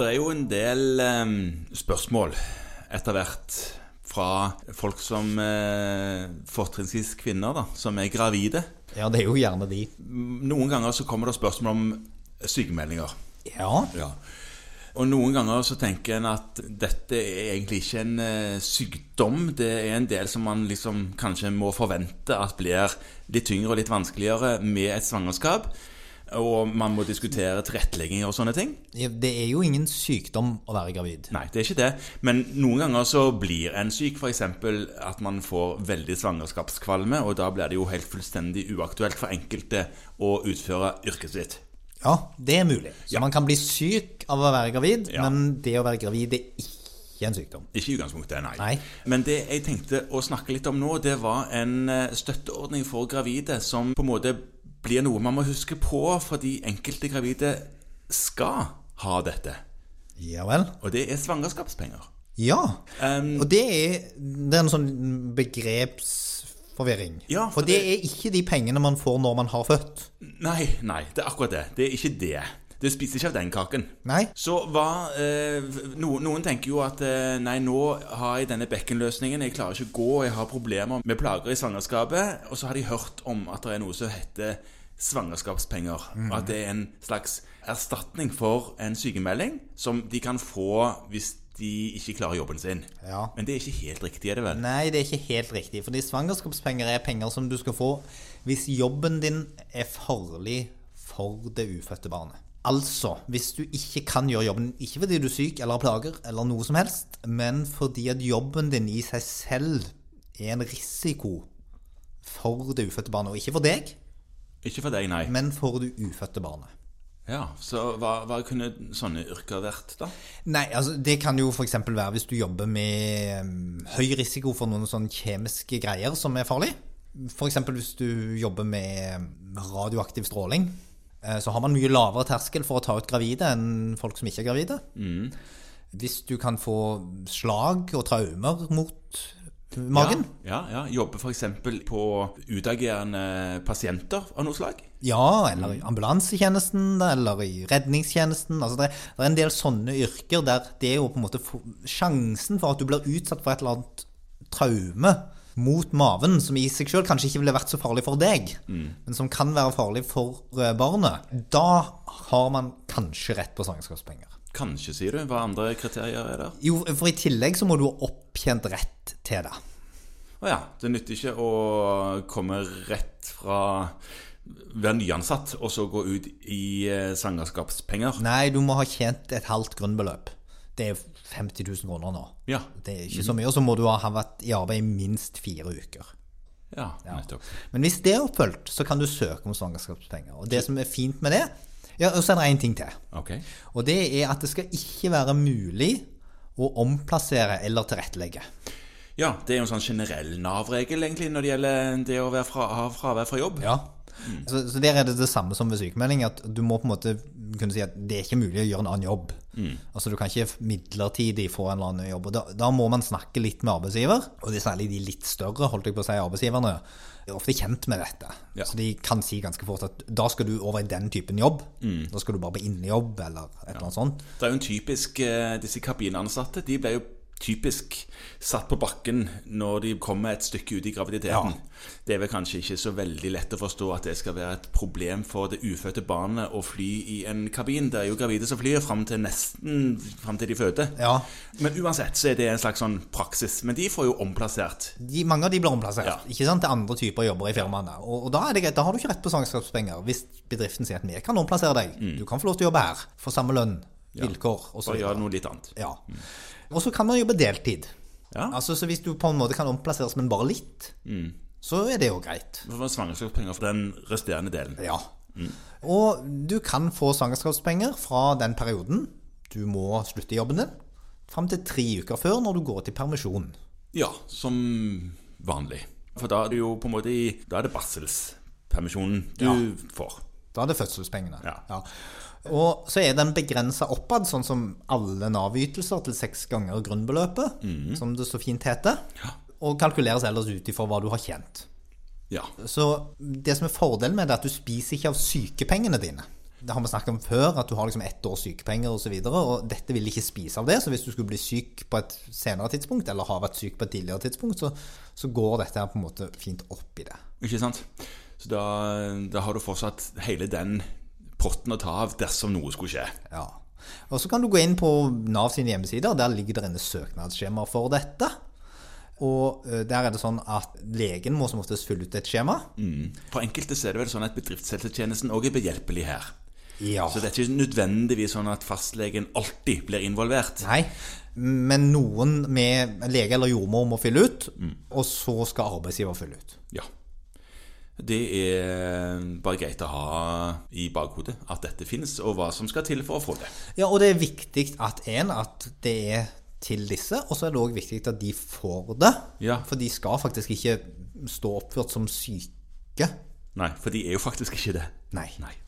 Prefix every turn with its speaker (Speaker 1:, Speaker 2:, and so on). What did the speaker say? Speaker 1: Det er jo en del eh, spørsmål etter hvert fra folk som eh, fortrinnsvis kvinner, da, som er gravide.
Speaker 2: Ja, det er jo gjerne de.
Speaker 1: Noen ganger så kommer det spørsmål om sykemeldinger.
Speaker 2: Ja.
Speaker 1: Ja. Og noen ganger så tenker en at dette er egentlig ikke en eh, sykdom. Det er en del som man liksom kanskje må forvente at blir litt tyngre og litt vanskeligere med et svangerskap. Og man må diskutere tilrettelegging og sånne ting.
Speaker 2: Det er jo ingen sykdom å være gravid.
Speaker 1: Nei, det er ikke det. Men noen ganger så blir en syk, f.eks. at man får veldig svangerskapskvalme, og da blir det jo helt fullstendig uaktuelt for enkelte å utføre yrket sitt.
Speaker 2: Ja, det er mulig. Så man kan bli syk av å være gravid,
Speaker 1: Ja.
Speaker 2: men det å være gravid er ikke en sykdom.
Speaker 1: Ikke i utgangspunktet, nei.
Speaker 2: Nei.
Speaker 1: Men det jeg tenkte å snakke litt om nå, det var en eh, støtteordning for gravide som på en måte blir noe man må huske på, fordi enkelte gravide skal ha dette.
Speaker 2: Ja vel.
Speaker 1: Og det er svangerskapspenger.
Speaker 2: Ja.
Speaker 1: Um,
Speaker 2: Og det er, det er en sånn begrepsforvirring.
Speaker 1: Ja, for
Speaker 2: for det
Speaker 1: det-
Speaker 2: er ikke de pengene man får når man har født.
Speaker 1: Nei, nei, det er akkurat det. Det er ikke det. Du spiser ikke av den kaken.
Speaker 2: Nei.
Speaker 1: Så hva eh, no, Noen tenker jo at eh, nei, nå har jeg denne bekkenløsningen, jeg klarer ikke å gå, jeg har problemer med plager i svangerskapet. Og så har de hørt om at det er noe som heter svangerskapspenger. og At det er en slags erstatning for en sykemelding som de kan få hvis de ikke klarer jobben sin.
Speaker 2: Ja.
Speaker 1: Men det er ikke helt riktig, er det vel?
Speaker 2: Nei, det er ikke helt riktig. Fordi svangerskapspenger er penger som du skal få hvis jobben din er farlig for det ufødte barnet. Altså, hvis du ikke kan gjøre jobben, ikke fordi du er syk eller har plager, eller noe som helst, men fordi at jobben din i seg selv er en risiko for det ufødte barnet. Og ikke for deg,
Speaker 1: Ikke for deg, nei.
Speaker 2: men for det ufødte barnet.
Speaker 1: Ja, Så hva, hva kunne sånne yrker vært, da?
Speaker 2: Nei, altså Det kan jo f.eks. være hvis du jobber med um, høy risiko for noen sånne kjemiske greier som er farlig. F.eks. hvis du jobber med um, radioaktiv stråling. eh, Så har man mye lavere terskel for å ta ut gravide enn folk som ikke er gravide. Hvis du kan få slag og traumer mot magen.
Speaker 1: Ja, ja, ja. Jobbe f.eks. på utagerende pasienter av noe slag.
Speaker 2: Ja, eller i ambulansetjenesten, eller i redningstjenesten. Altså det, det er en del sånne yrker der det er jo på en måte for, sjansen for at du blir utsatt for et eller annet traume mot maven, som i seg sjøl kanskje ikke ville vært så farlig for deg, men som kan være farlig for eh, barnet, da har man kanskje rett på svangerskapspenger.
Speaker 1: Kanskje, sier du. Hva andre kriterier er der?
Speaker 2: Jo, for i tillegg så må du ha opptjent rett til det.
Speaker 1: Å ja, det nytter ikke å komme rett fra Være nyansatt og så gå ut i eh, svangerskapspenger.
Speaker 2: Nei, du må ha tjent et halvt grunnbeløp. Det er 50 000 kroner nå.
Speaker 1: Ja.
Speaker 2: Det er ikke så mye, og så må du ha vært i arbeid i minst fire uker.
Speaker 1: ja. Nettopp.
Speaker 2: Men hvis det er oppfylt, så kan du søke om svangerskapspenger. Og det som er fint med det ja, Og så er det én ting til.
Speaker 1: Ok.
Speaker 2: Og det er at det skal ikke være mulig å omplassere eller tilrettelegge.
Speaker 1: Ja, det er jo en sånn generell Nav-regel, egentlig, når det gjelder det å være fra, ha fravær fra jobb.
Speaker 2: Ja. Mm. Så, så der er det det samme som ved sykemelding, at du må på en måte kunne si at det er ikke mulig å gjøre en annen jobb. Altså Du kan ikke midlertidig få en eller annen jobb. og Da, da må man snakke litt med arbeidsgiver, og det er særlig de litt større holdt jeg på å si, arbeidsgiverne er ofte kjent med dette.
Speaker 1: Ja.
Speaker 2: Så de kan si ganske fort at da skal du over i den typen jobb. Da skal du bare på innejobb eller et eller annet sånt.
Speaker 1: Det er jo en typisk eh, Disse kabinansatte de ble jo typisk satt på bakken når de kommer et stykke ut i graviditeten. Det er vel kanskje ikke så veldig lett å forstå at det skal være et problem for det ufødte barnet å fly i en kabin. Det er jo gravide som flyr fram til nesten fram til de føder.
Speaker 2: Ja.
Speaker 1: Men uansett så er det en slags sånn praksis. Men de får jo omplassert.
Speaker 2: De, mange av de blir omplassert
Speaker 1: Ja.
Speaker 2: ikke sant, til andre typer jobber i firmaene. Og, og da er det greit, da har du ikke rett på svangerskapspenger hvis bedriften sier at vi kan omplassere deg.
Speaker 1: Mm.
Speaker 2: Du kan få lov til å jobbe her for samme lønn, vilkår og så
Speaker 1: For å
Speaker 2: videre.
Speaker 1: gjøre noe litt annet.
Speaker 2: Ja. Og så kan man jobbe deltid.
Speaker 1: Mm. Ja. Mm.
Speaker 2: Altså, så hvis du på en måte kan omplasseres, men bare litt, så er det jo greit.
Speaker 1: For svangerskapspenger for den resterende delen.
Speaker 2: Ja.
Speaker 1: Mm.
Speaker 2: Og du kan få svangerskapspenger fra den perioden du må slutte i jobben din, fram til tre uker før når du går til permisjon.
Speaker 1: Ja, som vanlig. For da er det jo på en måte i Da er det barselspermisjonen du får.
Speaker 2: Da er det fødselspengene.
Speaker 1: Ja.
Speaker 2: Og så er den begrensa oppad, sånn som alle Nav-ytelser, til seks ganger grunnbeløpet, som det så fint heter. Og kalkuleres ellers ut ifra hva du har tjent.
Speaker 1: Ja.
Speaker 2: Så det som er fordelen med det, er at du spiser ikke av sykepengene dine. det har vi snakket om før, at du har liksom ett års sykepenger osv. Og, så og dette vil ikke spise av det, så hvis du skulle bli syk på et senere tidspunkt, eller har vært syk på et tidligere tidspunkt, så, så går dette her på en måte fint opp i det.
Speaker 1: Ikke sant? Så da, da har du fortsatt hele den potten å ta av dersom noe skulle skje.
Speaker 2: Ja. Og så kan du gå inn på Nav sine hjemmesider. Der ligger det inne søknadsskjema for dette. Og eh, der er det sånn at legen må som oftest fylle ut et skjema.
Speaker 1: Mm. På enkelte så er det vel sånn at bedriftshelsetjenesten òg er behjelpelig her.
Speaker 2: Ja.
Speaker 1: Så det er ikke nødvendigvis sånn at fastlegen alltid blir involvert.
Speaker 2: Nei, men noen med lege eller jordmor må fylle ut,
Speaker 1: Mm.
Speaker 2: og så skal arbeidsgiver fylle ut.
Speaker 1: Ja. Det er bare greit å ha i bakhodet at dette finnes, og hva som skal til for å få det.
Speaker 2: Ja, og det er viktig at en, at det er til disse, og så er det òg viktig at de får det.
Speaker 1: Ja.
Speaker 2: For de skal faktisk ikke stå oppført som syke.
Speaker 1: Nei, for de er jo faktisk ikke det.
Speaker 2: Nei.
Speaker 1: Nei.